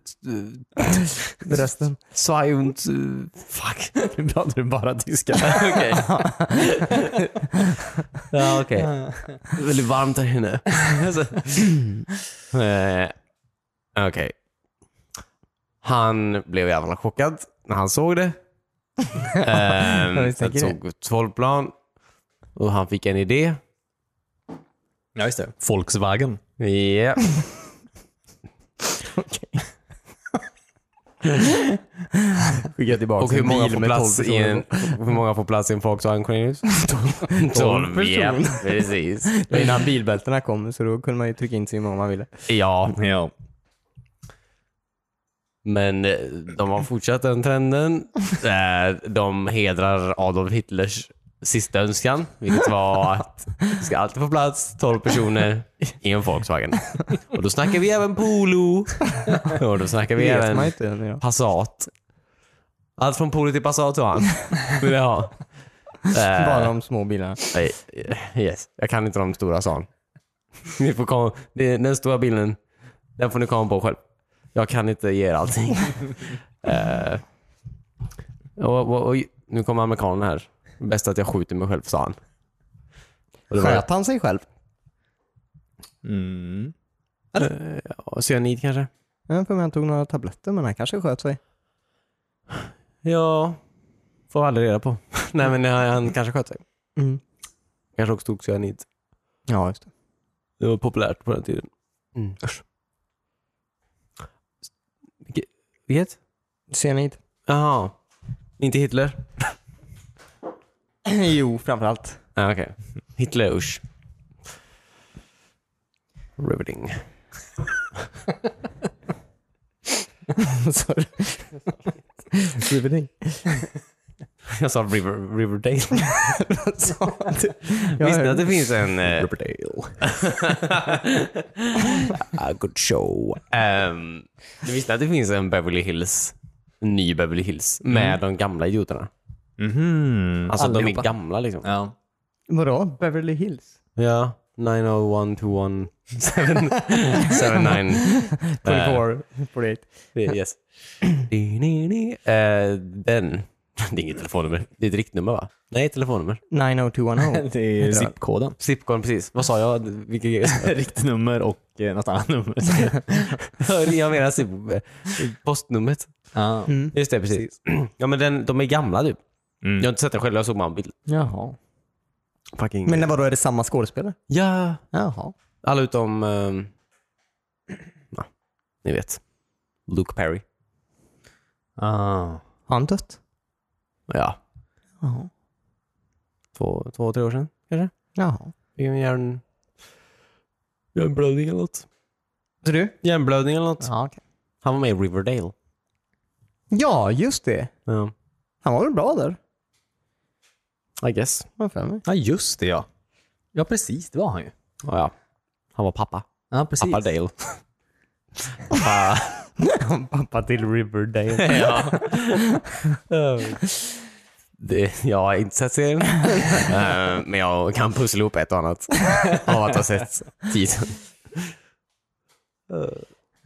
Resten.
zwei und... eh, Fuck.
Nu pratar du bara tyska.
Okej. ja, okej. Det är väldigt varmt här inne. Alltså. Eh, okej. Han blev jävla chockad när han såg det. Ehm,
Ja, vi
han
tänker
såg ett tolvplan och han fick en idé.
Ja, just det. Volkswagen.
Ja.
Skicka tillbaka
Och hur
en
många,
bil
får
med 12
plats i
personer.
en, hur många får plats i en Volkswagen Cornelius?
Tolv
ja,
personer.
precis.
Det var Innan bilbältena kom, så då kunde man ju trycka in så hur många man ville.
Ja,
Ja.
Men eh, de har fortsatt den trenden. Eh, De hedrar Adolf Hitlers sista önskan, vilket var att det ska alltid få plats 12 personer i en Volkswagen. Och då snackar vi även Polo. Och då snackar
Det
vi
vet man ju
även
inte än idag.
Passat. Allt från Polo till Passat tror han. Vill jag ha. Eh,
Bara de små bilarna.
Nej, Yes. Jag kan inte de stora sa han. Ni får komma, det, den stora bilden, den får ni komma på själv. Jag kan inte ge er allting. Eh, och, och, och, nu kommer amerikanen här. Bäst att jag skjuter mig själv, sa han. Och det var,
Sköt han sig själv?
Mm.
ja, cyanid kanske?
Jag för mig han tog några tabletter, men han kanske sköt sig.
Ja, får aldrig reda på. Nej men han, han kanske sköt sig.
Mm.
Kanske också tog cyanid.
Ja, just det.
Det var populärt på den tiden. Mm. Usch. Vilket- Vilket?
Cyanid?
Jaha. Inte Hitler?
jo, framförallt.
Ah, Okej. Hitler, usch. Riveting.
Sorry. Riveting.
Jag sa River, Riverdale.
Så-
Visste ni att det finns en... eh,
Riverdale.
A good show. Um, du visste att det finns en Beverly Hills, en ny Beverly Hills, med de gamla idioterna?
Mhm.
Alltså de
Allihopa.
är gamla liksom.
Ja.
Vadå? Beverly Hills?
Ja. 90121 79
Eh. 24, 48.
Yes. Di, ni, ni. Eh, den. Det är inget telefonnummer. Det är ett riktnummer va? Nej, telefonnummer.
90210.
Det är zip-koden.
Zipcorn, precis. Vad sa jag? Vilka grejer?
Riktnummer och eh, något annat nummer.
jag menar zip, postnumret.
ja.
Mm.
Just det, precis. Ja men den, de är gamla typ.
Mm.
Jag har inte sett den själv, jag såg bara en bild.
Jaha.
Fucking...
Men vadå, är det samma skådespelare?
Ja.
Jaha.
Alla utom... ehm, ja, ni vet. Luke Perry.
Ah.
Har han dött?
Ja,
Jaha.
två, två tre år sedan kanske.
Jaha.
Fick en hjärn... Hjärnblödning eller något.
Så du?
Hjärnblödning eller något.
Ja, okej.
Han var med i Riverdale.
ja, just det.
Ja.
Han var väl bra där?
I guess.
har jag för mig.
Ja, just det ja. Ja, precis. Det var han ju.
Ja, ja. Han var pappa.
Ja, precis.
Pappa Dale. pappa...
Pappa till Riverdale.
ja. Det, jag har inte sett serien. Eh, Men jag kan pussla ihop ett och annat av att ha sett tiden.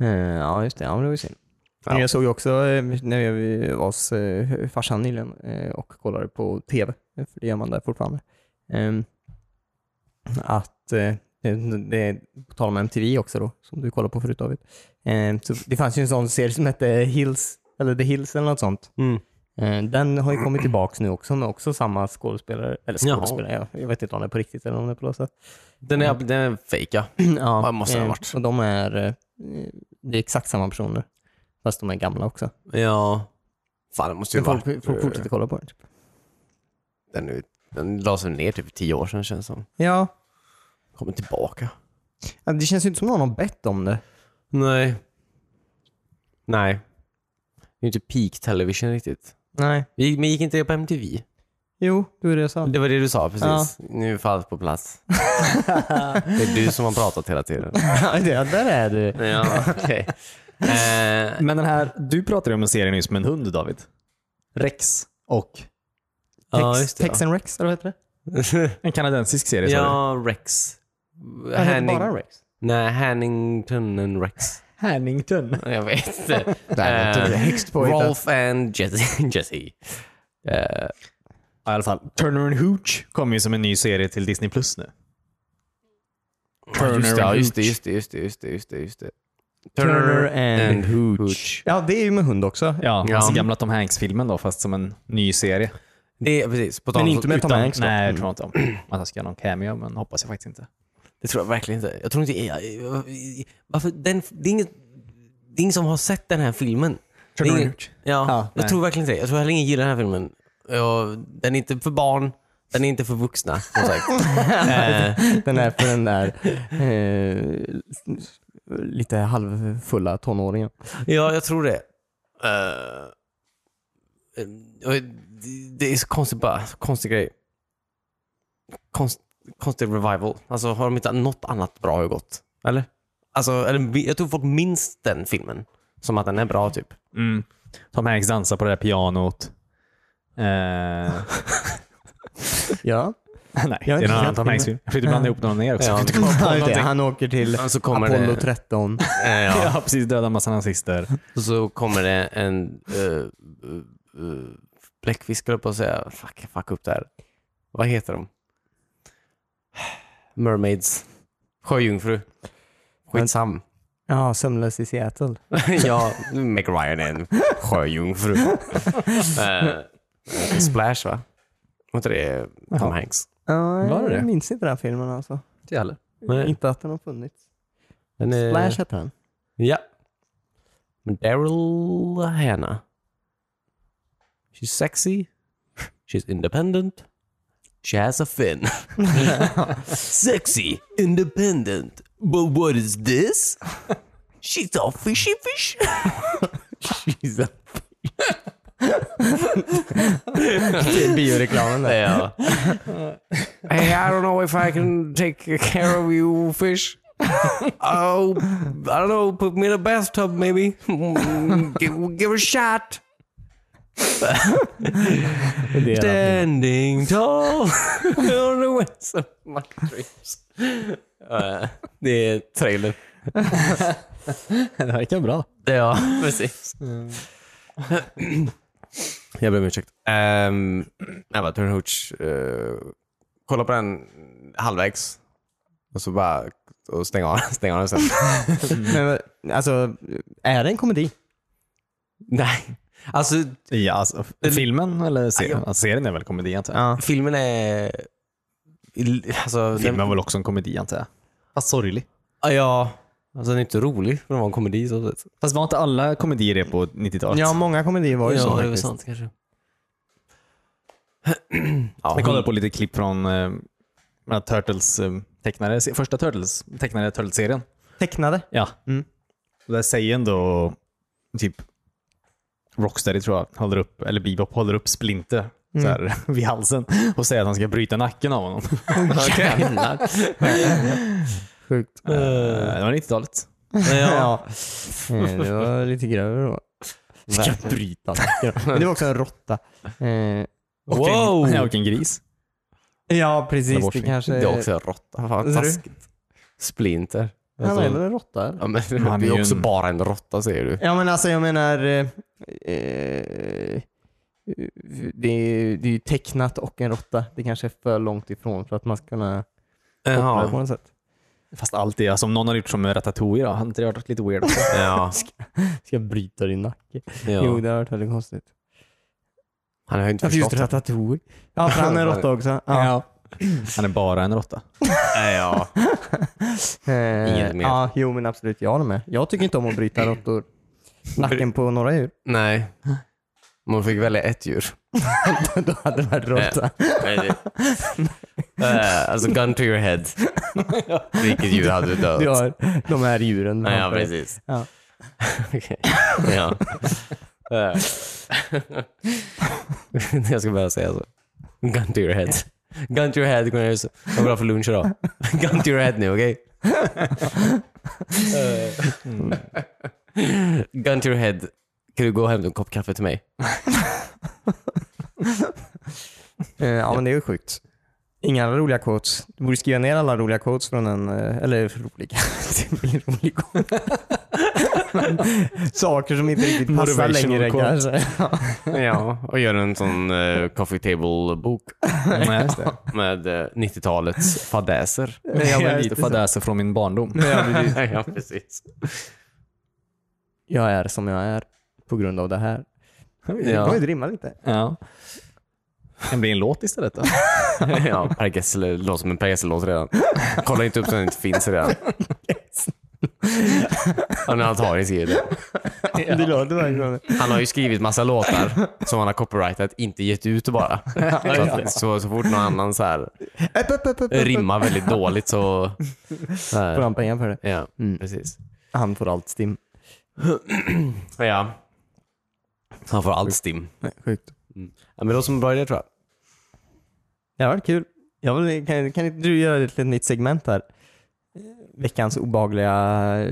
Eh, ja, just det. Ja, men det var ju synd.
Ja.
Men Jag såg ju också eh, när jag var hos eh, farsan nyligen eh, och kollade på tv, för det gör man där fortfarande, ehm, att eh, det- det, på tal om MTV också då, som du kollade på förut David. ehm, så det fanns ju en sån serie som hette Hills, eller The Hills eller något sånt.
Mm.
Eh, Den har ju kommit tillbaks nu också med också samma skådespelare. Eller
Jaha.
skådespelare, jag, jag vet inte om det är på riktigt eller om det är på något sätt.
Den är, den är fake, ja.
Ja,
det måste det ha
eh,
varit.
Och de är, eh, det är exakt samma personer. Fast de är gamla också.
Ja. Fan, det måste ju
Men
vara...
folk, folk fortsätter kolla på det. Typ.
Den, är- den lades väl ner typ för tio år sedan känns det som.
Ja,
Kommer tillbaka.
Ja, det känns ju inte som någon har bett om det.
Nej. Nej. Det är ju inte peak television riktigt.
Nej.
Vi- Men gick inte det på MTV?
Jo, det var det jag sa.
Det var det du sa precis. Nu är allt på plats. det är du som har pratat hela tiden.
Ja, där är du.
Ja, okej. Eh,
Men den här, du pratade ju om en serie nyss med en hund David. Rex och
ja,
Tex,
just det.
Tex and Rex, eller vad heter det?
en kanadensisk serie sa du?
Ja, Rex.
Ja, heter bara Rex?
Nej, Hannington and Rex.
Hannington.
Jag vet inte.
Nej, det är
Eh,
högst påhittat.
Rolf and Jesse. Jesse. Eh,
Ja, i alla fall. Turner and Hooch kommer ju som en ny serie till Disney Plus nu. Turner
just, det,
and
ja, just det,
Hooch.
just det, just det, just det, just det, just det.
Turner and
Hooch.
Ja, det är ju med hund också.
Ja,
Ja.
alltså gamla Tom Hanks-filmen då, fast som en ny serie.
Det är precis. På tal
Men
om-
inte med Tom
utan-
Hanks då?
Nej, jag tror inte om att han ska göra någon cameo, men hoppas jag faktiskt inte.
Det tror jag verkligen inte. Jag tror inte... jag- Varför? Den, det, är inget, det är ingen som har sett den här filmen.
Turner
Det är-
and Hooch.
Ja,
Ja,
jag
nej.
tror verkligen inte det. Jag tror heller ingen gillar den här filmen. Ja, den är inte för barn, den är inte för vuxna. Som sagt. eh,
Den är för den där eh, lite halvfulla tonåringen.
ja, jag tror det. Eh, och det- det är så konstigt bara. Så konstig grej. Konst, konstig revival. Alltså har de inte något annat bra har gått? Eller? Alltså, eller, jag tror folk minns den filmen som att den är bra typ.
Mm. Tom Hanks dansar på det där pianot. Eh, nej,
Ja.
det är en
inte
annan
sett
Tom Hanks-film. Jag försökte blanda ihop någon ner också.
Ja,
Jag kom på
Ja, just det.
någonting.
Han åker till
Och så kommer det-
Apollo 13.
Eh, ja.
Ja, precis. Döda en massa nazister.
Och så kommer det en uh, uh, bläckfisk, höll jag på att säga. Fuck, jag fuck upp där. Vad heter de? Mermaids. Sjöjungfru. Skitsam.
Ja, Sömnlös i Seattle.
ja, Meg Ryan är en sjöjungfru. Eh, Splash, va? Var inte det Tom
Jaha.
Hanks?
Ja,
Var det det?
jag minns inte den här filmen alltså.
Inte jag heller. Nej.
Inte att den har funnits.
Den är-
Splash hette den.
Ja. Men Daryl Hannah. She's sexy. She's independent. She has a fin. sexy, independent. But what is this? She's a fishy fish.
She's a Det är bioreklamen där.
Yeah. hey, I don't know if I can take care of you, fish. oh, I don't know. Put me in a bathtub, maybe. give, give it a shot.
Det är den.
Standing tall on the west of my dreams. Eh, det är trailer.
Det verkar bra.
Ja, precis. jag ber om ursäkt. Um, jag bara, Turner Hooch. eh, kolla på den halvvägs. Och så bara och stäng, av, stäng av den sen.
Men, alltså, är det en komedi?
Nej. Alltså,
Ja, alltså, filmen eller serien? Alltså, serien är väl komedi, antar jag.
Ja.
filmen är i- alltså, den,
Filmen var väl också en komedi antar jag. Fast sorglig.
Ah, ja, alltså den är inte rolig för den var en komedi så sett.
Fast var inte alla komedier det på 90-talet?
Ja, många komedier var ju så
det är väl
faktiskt.
sant kanske. ja,
Jag kollade på lite klipp från eh, Turtles eh, tecknare, se- första Turtles, tecknade Turtles-serien.
Tecknade.
Ja.
Mm.
Och där säger ändå typ Rocksteady tror jag, håller upp, eller Bebop håller upp Splinter så här, vid halsen och säger att han ska bryta nacken av honom.
Jävlar.
Sjukt.
Eh, det var 90-talet.
Ja. Eh, Det var lite grövre då. Ska bryta nacken. Men Det var också en råtta. Eh,
Och
Wow!
En, ja, och en gris.
Ja, precis. Det
Bortsett.
kanske...
Det är också en råtta. Fan,
Ser du?
taskigt. Splinter.
Han är
Alltså,
väl en råtta? eller?
ja, men,
Han
det
är
är
ju
också
en-
bara en råtta säger du.
Ja men alltså jag menar eh, eh, det, är, det är ju tecknat och en råtta. Det kanske är för långt ifrån för att man ska kunna koppla det på
Jaha.
något sätt.
Fast allt det, alltså om någon har gjort som Ratatouille då, hade inte det varit lite weird?
Ja,
Ska jag bryta din nacke? Jo
ja.
det har varit väldigt konstigt.
Han har ju inte
Att just
förstått. det.
Ratatouille. Ja för han är en råtta också. Ja.
Han är bara en råtta.
Nej, ja.
Eh,
Inget mer.
Ja, jo men absolut, jag håller med. Jag tycker inte om att bryta råttor. Nacken på några djur.
Nej. Man fick välja ett djur.
Då hade det varit råtta.
Eh, alltså gun to your head. Vilket djur hade du dödat?
Du har de här djuren.
Ja, ja precis.
Ja.
Okej. ja. Eh. jag ska börja säga så. Gun to your head. Gun to your head Cornelius. Vad vill du ha för lunch idag? Gun to your head nu, okej? Eh. Gun to your head. Kan du gå och hämta en kopp kaffe till mig?
Eh, Ja men det är ju sjukt. Inga roliga quotes. Du borde skriva ner alla roliga quotes från en, eh, eller roliga, det blir en rolig quote. Men, Saker som inte riktigt passar
Motivational
längre
quote.
kanske.
Ja, och gör en sån eh, coffee table-bok
Nej, just det.
med eh, 90-talets fadäser.
Ja, men
Jag
lite
lite
så.
fadäser från min barndom.
ja, precis.
Jag är som jag är på grund av det här. Det
Ja.
kommer ju rimma lite.
Ja. Kan bli en låt istället då.
ja, Per Gessle låter som en Per Gessle-låt redan. Kolla inte upp så den inte finns redan. Han har antagligen skrivit det.
Det låter verkligen
Han har ju skrivit massa låtar som han har copyrightat, inte gett ut bara. Så, att- så, så fort någon annan så här,
Upp, upp, upp, upp, upp.
rimmar väldigt dåligt så... så
Eh, Får
här.
han pengar för det?
Ja, precis.
Han får allt stim.
Ja. Han får allt stim.
Nej, Sjukt.
Ja, men det låter som en bra idé tror jag.
Det har varit kul. Jag vill, kan, kan inte du göra ett litet nytt segment här? Veckans eh, obehagliga...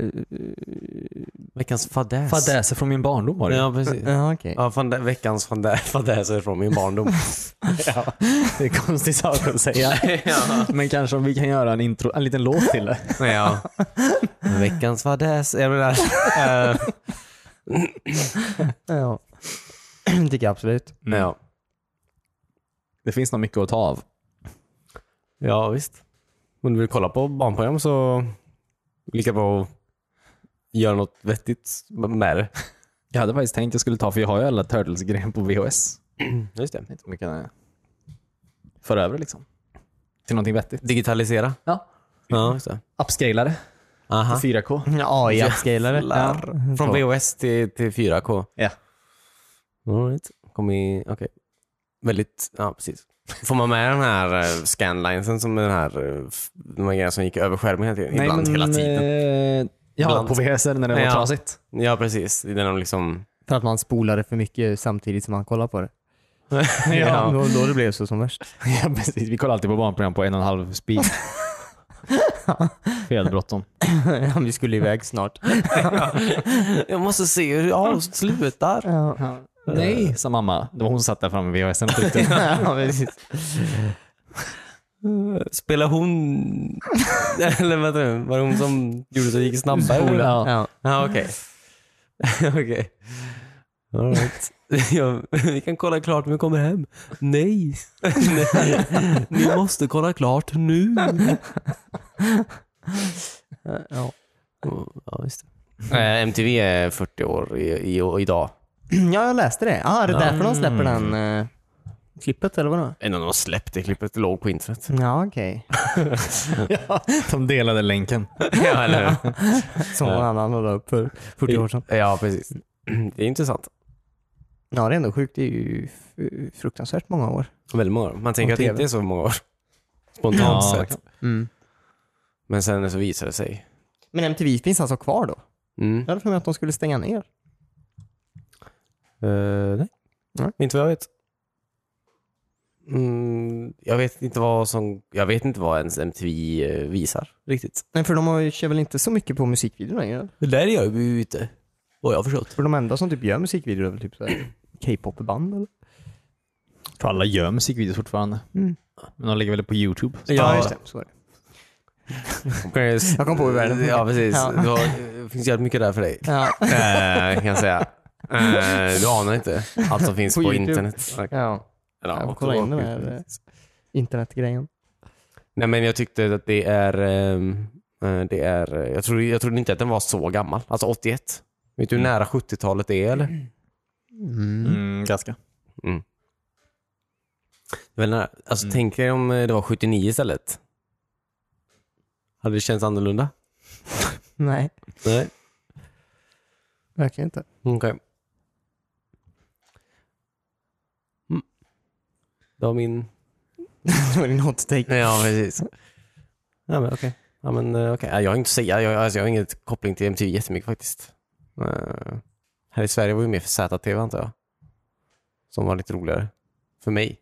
Veckans fadäs.
Fadäser från min barndom var det.
Ja, precis.
Ja, okej.
Ja, fan, veckans fadä- fadäser från min barndom.
Ja, det är konstigt sak att säga. Men kanske om vi kan göra en, intro, en liten låt till det.
Nej, ja. Veckans fadäs. Jag menar, eh,
Ja. tycker jag absolut.
ja.
Det finns nog mycket att ta av.
ja, visst. Om du vill kolla på barnprogram så lika bra att göra något vettigt med det.
Jag hade faktiskt tänkt jag skulle ta, för jag har ju alla Turtles-grejer på VHS.
Just det.
Jag vet inte om jag kan eh, föra över liksom. Till någonting vettigt.
Digitalisera.
Ja.
Ja, just det.
Upscala det
Aha.
till 4K.
AI-upscalare.
Jävlar. Från VHS till, till 4K.
Ja.
All right. Kom i, okej. Väldigt, ja precis. Får man med den här eh, scanlinesen som är den här, eh, f- de här grejerna som gick över skärmen hela tiden? Ibland hela tiden.
Eh, ja,
Ibland.
på VHS när det var
Ja.
trasigt.
Ja precis, det är när de liksom...
För att man spolade för mycket samtidigt som man kollade på det.
Ja.
Då, då det blev så som värst.
Ja, precis. Vi kollar alltid på barnprogram på en och en halv speed. För jag hade bråttom.
Ja, Vi skulle iväg snart.
Jag måste se hur ja, slutar.
Ja,
Nej, sa mamma. Det var hon Eh, som satt där framme vid VHS och tryckte.
ja, precis.
Spelar hon... Eller vänta nu, var det hon som gjorde så det gick snabbare?
Spola.
eller?
Ja.
Ja, okej. Okej. All right. ja, vi kan kolla klart när vi kommer hem. Nej. Nej. Ni måste kolla klart nu.
Ja.
Ja, just det. Eh, MTV är 40 år i, i, idag.
ja, jag läste det. Ah, är det
Ja.
därför de släpper den? eh, Klippet eller vadå?
En av de har släppt det klippet låg på internet.
Ja, okej.
De delade länken.
ja, eller hur?
Som någon annan la upp för 40 år sedan.
ja, precis. Det är intressant.
Ja, det är ändå sjukt. Det är ju f- fruktansvärt många år.
Väldigt många år. Man tänker
På
att det
TV.
inte är så många år. Spontant
Ja,
sett.
Mm.
Men sen så visar det sig.
Men MTV finns alltså kvar då?
Mm.
Jag hade för mig att de skulle stänga ner.
Eh, nej.
Nej.
inte vad jag vet. Mm, jag vet inte vad som... Jag vet inte vad ens MTV eh, visar riktigt.
Nej, för de har ju- kör väl inte så mycket på musikvideor längre? eller?
Det där gör vi ju inte. Vad jag har förstått.
För de enda som typ gör musikvideor är väl typ så här K-pop-band eller?
Jag tror alla gör musikvideos fortfarande.
Mm.
Men de lägger väl det på YouTube?
Ja,
just det. Så är det.
Jag
kom på hur världen
Ja, precis.
Ja.
Du har- Det finns jävligt mycket där för dig.
Ja.
Eh, kan jag säga. Eh, du anar inte allt som finns
På
på,
YouTube.
internet. Eller,
ja. Jag får kolla
på-
in den här eh, internetgrejen.
Nej men jag tyckte att det är, ehm, eh, det är eh, jag, trodde, jag trodde inte att den var så gammal. Alltså 81. Vet du hur nära 70-talet det är eller?
Mm, ganska.
Det är Väl nära. Alltså
Mm.
tänk dig om eh, det var 79 istället. Hade det känts annorlunda?
Nej,
Nej.
verkligen inte.
Okej. Mm. Det var min...
det var din hot take.
Ja precis. Ja men okej. Ja, men, eh, okej. Ja, Jag har inte att säga. Jag, alltså, jag har ingen koppling till MTV jättemycket faktiskt. Eh, här i Sverige var ju mer för ZTV antar jag. Som var lite roligare. För mig.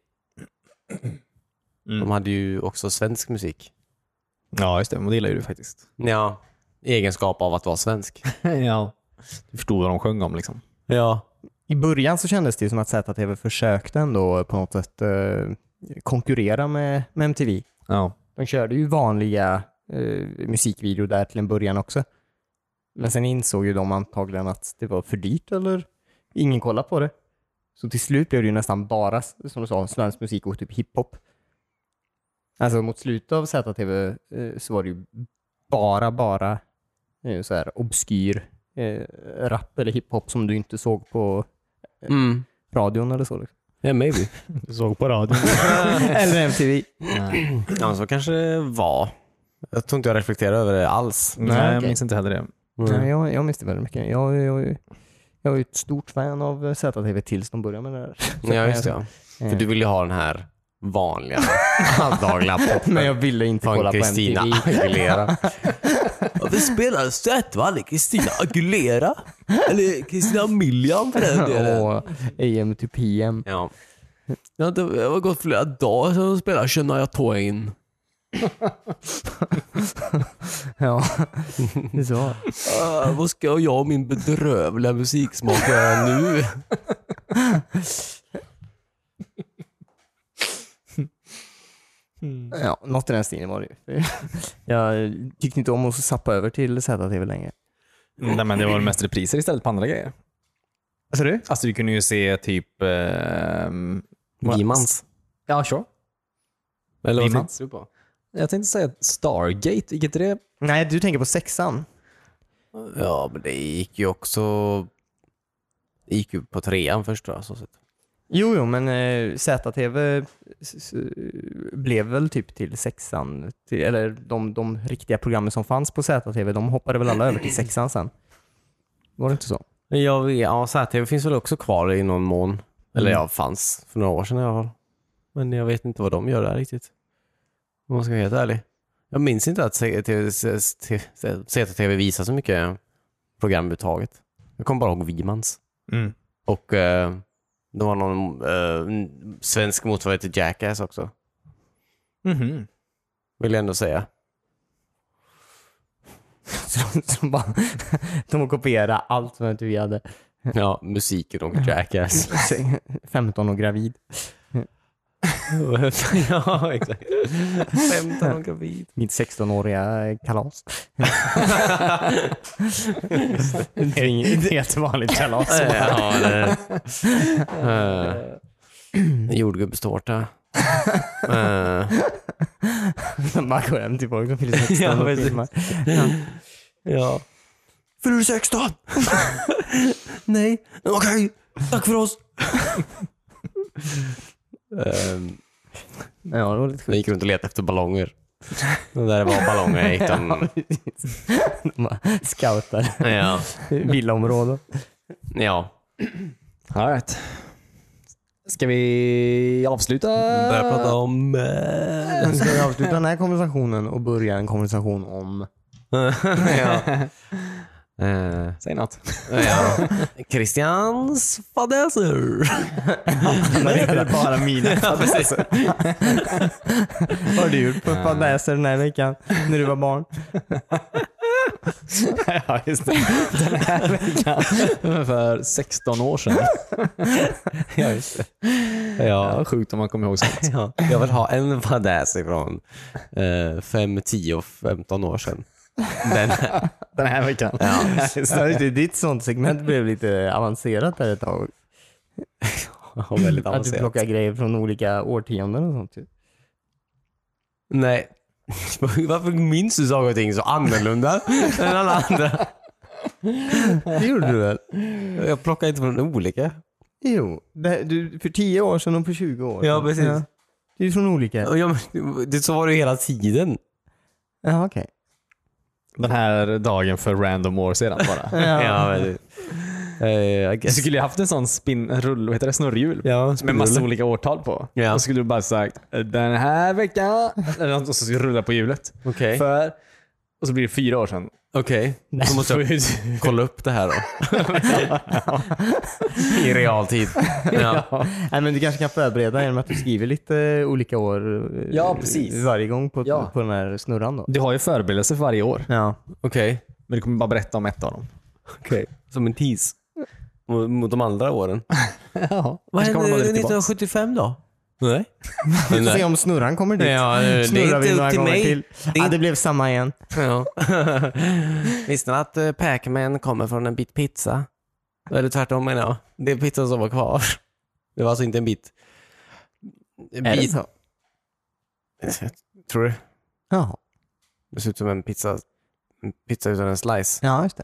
Mm.
De hade ju också svensk musik.
Ja, just det. Men det gillar ju du faktiskt.
Ja. I egenskap av att vara svensk.
ja. Du förstod vad de sjöng om liksom.
ja.
I början så kändes det ju som att ZTV försökte ändå på något sätt eh, konkurrera med, med MTV.
Ja.
De körde ju vanliga eh, musikvideor där till en början också. Men sen insåg ju de antagligen att det var för dyrt eller ingen kollade på det. Så till slut blev det ju nästan bara, som du sa, svensk musik och typ hiphop. Alltså mot slutet av ZTV eh, så var det ju bara, bara eh, så här obskyr eh, rap eller hiphop som du inte såg på eh,
Mm.
radion eller så. Liksom.
Yeah, maybe.
Du såg på radion.
eller MTV.
ja, så kanske det var. Jag tror inte jag reflekterar över det alls.
Nej,
Nej,
jag
okej.
minns inte heller det.
Nej, jag, jag minns det väldigt mycket. Jag, jag, jag är ju ett stort fan av eh, ZTV tills de började med det där.
Ja, just det. Ja. För du vill ju ha den här vanliga alldagliga poppen.
Men jag ville inte Eh, kolla
Från
på
Kristina
MTV.
Aguilera. Vi spelar Sötvall, Kristina Aguilera. Eller Kristina Milian för den
Och typ AM to PM.
Ja. Jag har, inte, jag har gått flera dagar sedan de spelade Shania Twain.
Ja, det är så.
Uh, vad ska jag och min bedrövliga musiksmak göra nu?
Ja, något i den stilen var det ju. Jag tyckte inte om att sappa över till ZTV längre.
Nej, men det var väl mest repriser istället på andra grejer.
Vad sa du?
Alltså du kunde ju se typ... ehm,
Gimans.
Ja, sure.
Eller vad
Gimans.
tänkte du på?
Jag tänkte säga Stargate. Vilket är det?
Nej, du tänker på sexan.
Ja, men det gick ju också... Det gick ju på trean först tror jag. Så sett.
Jo, jo, men eh, ZTV s- s- blev väl typ till sexan. Till, eller de, de riktiga programmen som fanns på ZTV, de hoppade väl alla över till sexan sen. Var det inte så?
Jag vet, ja, ZTV finns väl också kvar i någon mån. Eller ja, fanns för några år sedan i alla fall. Men jag vet inte vad de gör där riktigt. Om man ska vara helt ärlig. Jag minns inte att ZTV ZTV visar så mycket program överhuvudtaget. Jag kommer bara ihåg Vigmans.
Mm.
Och eh, det var någon eh, svensk motsvarighet till Jackass också.
Mhm.
Vill jag ändå säga.
Så de, som bara, de kopierade allt som vi hade.
Ja, musiken och Jackass.
15 och gravid.
ja, exakt. 15 och gravid.
Mitt 16-åriga kalas. det är inget helt vanligt kalas.
Ja, det... Eh, Jordgubbstårta. Eh,
Man går hem till folk som fyller 16
Ja,
och
precis.
filmar.
ja.
Fyller du 16?
Nej. Okej, tack för oss. Ehm,
Nej, Ja, det var lite
jag
sjukt.
gick runt och letade efter ballonger. Det där var ballonger jag hittade. om-
De bara Scoutar
Ja.
villaområden.
ja.
All right. Ska vi avsluta?
Börja prata om... eh.
Nu ska vi avsluta den här konversationen och börja en konversation om...
ja. Eh,
Säg något.
ja. Christians fadäser.
det är bara mina fadäser. Vad har du gjort för fadäser den här veckan när du var barn?
ja, just det. Den här veckan. För 16 år sedan.
ja, just det.
Ja,
Ja.
sjukt om man kommer ihåg sånt.
Ja. Jag vill ha en fadäs ifrån 5, 10 och 15 år sedan. Den här.
Den här veckan. Ja, just det.
Ja, just det. Ditt sånt segment blev lite avancerat där ett tag.
var väldigt
Att du
avancerad.
plockar grejer från olika årtionden och sånt. ju.
Nej. Varför minns du saker och ting så annorlunda än alla andra?
Det gjorde du väl?
Jag plockar inte från olika.
Jo, det, du, för 10 år sedan och för 20 år
Ja,
sedan.
precis.
Det är ju från olika.
Ja, men, det, så var det ju hela tiden.
Jaha, okej.
Den här dagen för random år sedan bara.
Ja.
men, eh, I
Du
guess.
skulle ju haft en sån spin, rull, vad heter det, snurrhjul
Ja,
med massa olika årtal på.
Ja.
Då skulle du bara sagt den här veckan eller något, och så skulle du rulla på hjulet.
Okej.
För, och så blir det fyra år sedan.
Okej, då måste jag kolla upp det här då. I realtid. Ja.
Nej, men du kanske kan förbereda genom att du skriver lite olika år eh,
Ja, precis.
varje gång på,
Ja.
på den här snurran då.
Du har ju förberedelser för varje år,
Ja.
Okej.
men du kommer bara berätta om ett av dem.
Okej. Som en tease. Mot, mot de andra åren.
Ja. Vad händer?
1975 då? Nej.
Vi får se om snurran kommer dit.
Ja, det är
Snurrar vi
inte upp
några
till
gånger
mig.
till.
Det är
Ja,
inte-
det blev samma igen.
Ja. Visste ni att eh, Pac-Man kommer från en bit pizza? Eller tvärtom menar jag. Det är pizzan som var kvar. Det var alltså inte en bit. En
Är det
bit.
så?
Tror du?
Jaha.
Det ser ut som en pizza, en pizza utan en slice.
Ja, just det.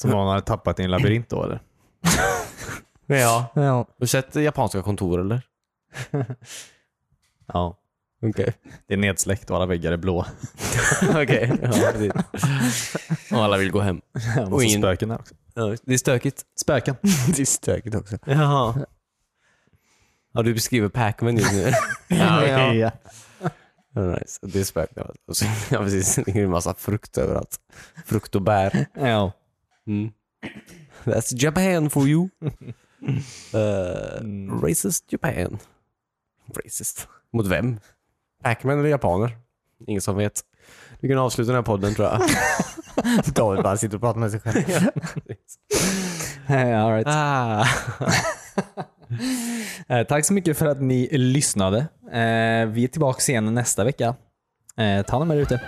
Som någon hade tappat i en labyrint då eller?
Ja.
Ja.
Har du sett japanska kontor eller?
Ja.
Okej.
Det är nedsläckt och alla väggar är blå.
Okej. Ja, precis. Och alla vill gå hem.
Och,
Och
så
ingen-
Alltså spöken där också.
Ja, det är stökigt.
Spöken.
Det är stökigt också.
Jaha. Ja, du beskriver Pac-Man just nu.
Ja, okej,
ja.
Ja, nice. Det är spöken överallt. Och så- Ja, precis. Det är en massa frukt överallt. Frukt och bär.
ja.
Mm. That's Japan for you. Eh, Racist Japan. Racist. Mot vem? Pac-Man eller japaner? Ingen som vet. Vi kan avsluta den här podden tror jag.
David bara sitter och pratar med sig själv.
All right.
ah.
Eh, Tack så mycket för att ni lyssnade. Eh, Vi är tillbaka igen nästa vecka. Eh, Ta hand om er ute.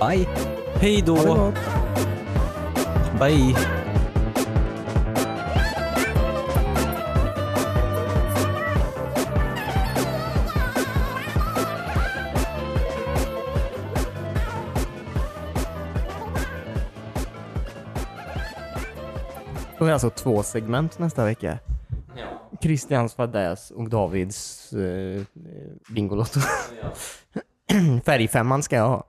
Bye!
Hej då. Bye.
Då är det alltså två segment nästa vecka. Christians fadäs och Davids eh, eh, Bingolotto. Färgfemman ska jag ha.